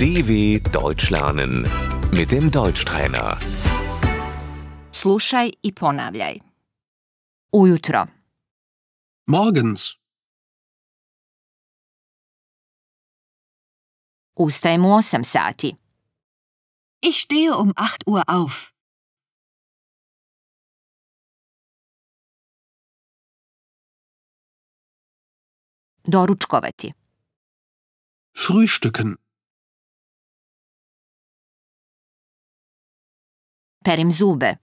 DW Deutsch lernen mit dem Deutschtrainer. Slušaj i ponavljaj. Ujutro, Morgens, ustajem u 8 sati. Ich stehe um 8 Uhr auf. Doručkovati, frühstücken, perim zube,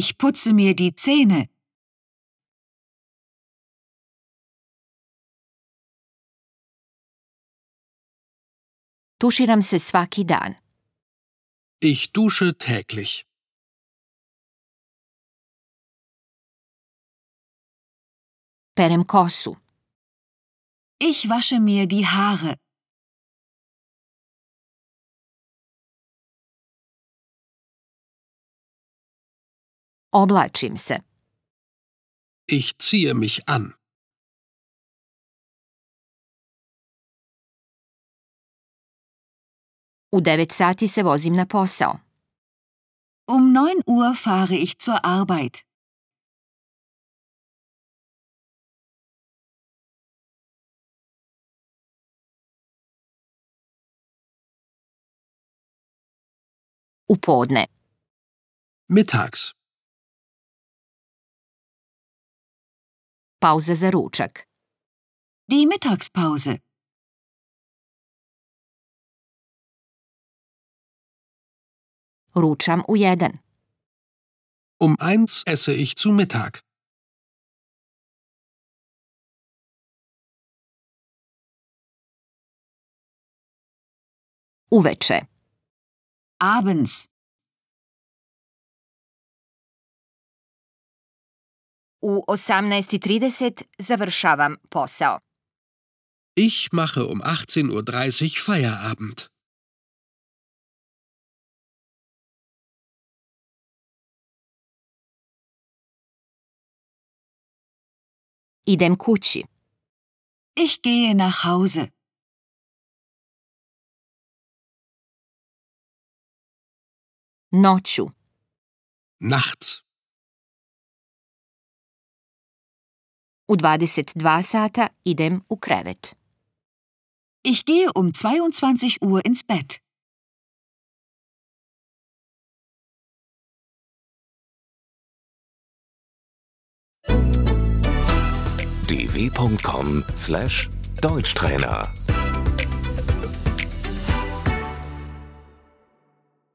Ich putze mir die Zähne. tuširam se svaki dan. ich dusche täglich. Perem kosu, Ich wasche mir die Haare. oblačim se, Ich ziehe mich an. u 9 sati se vozim na posao. Um 9 Uhr fahre ich zur Arbeit. U podne, Mittags, pauza za ručak. Die Mittagspause. Ručam u 1. um eins esse ich zu Mittag. Uveče, Abends. u 18.30 završavam posao. Ich mache um 18.30 Uhr Feierabend. Idem kući. Ich gehe nach Hause. Noću, Nachts, u 22 sata idem u krevet. Ich gehe um 22 Uhr ins Bett. dw.com/deutschtrainer